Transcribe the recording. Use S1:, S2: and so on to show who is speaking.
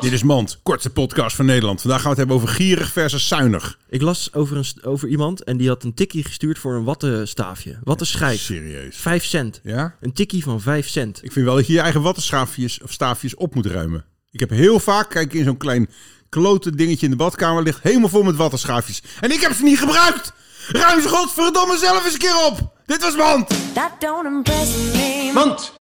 S1: Dit is Mand, kortste podcast van Nederland. Vandaag gaan we het hebben over gierig versus zuinig.
S2: Ik las over, een, st- over iemand en die had een tikkie gestuurd voor een wattenstaafje. Wattenschijf.
S1: Serieus.
S2: Vijf cent.
S1: Ja?
S2: Een tikkie van vijf cent.
S1: Ik vind wel dat je je eigen wattenschaafjes of staafjes op moet ruimen. Ik heb heel vaak, kijk in zo'n klein klote dingetje in de badkamer, ligt helemaal vol met wattenschaafjes. En ik heb ze niet gebruikt! Ruim ze godverdomme zelf eens een keer op! Dit was Mand!
S3: That don't impress me.
S1: Mand!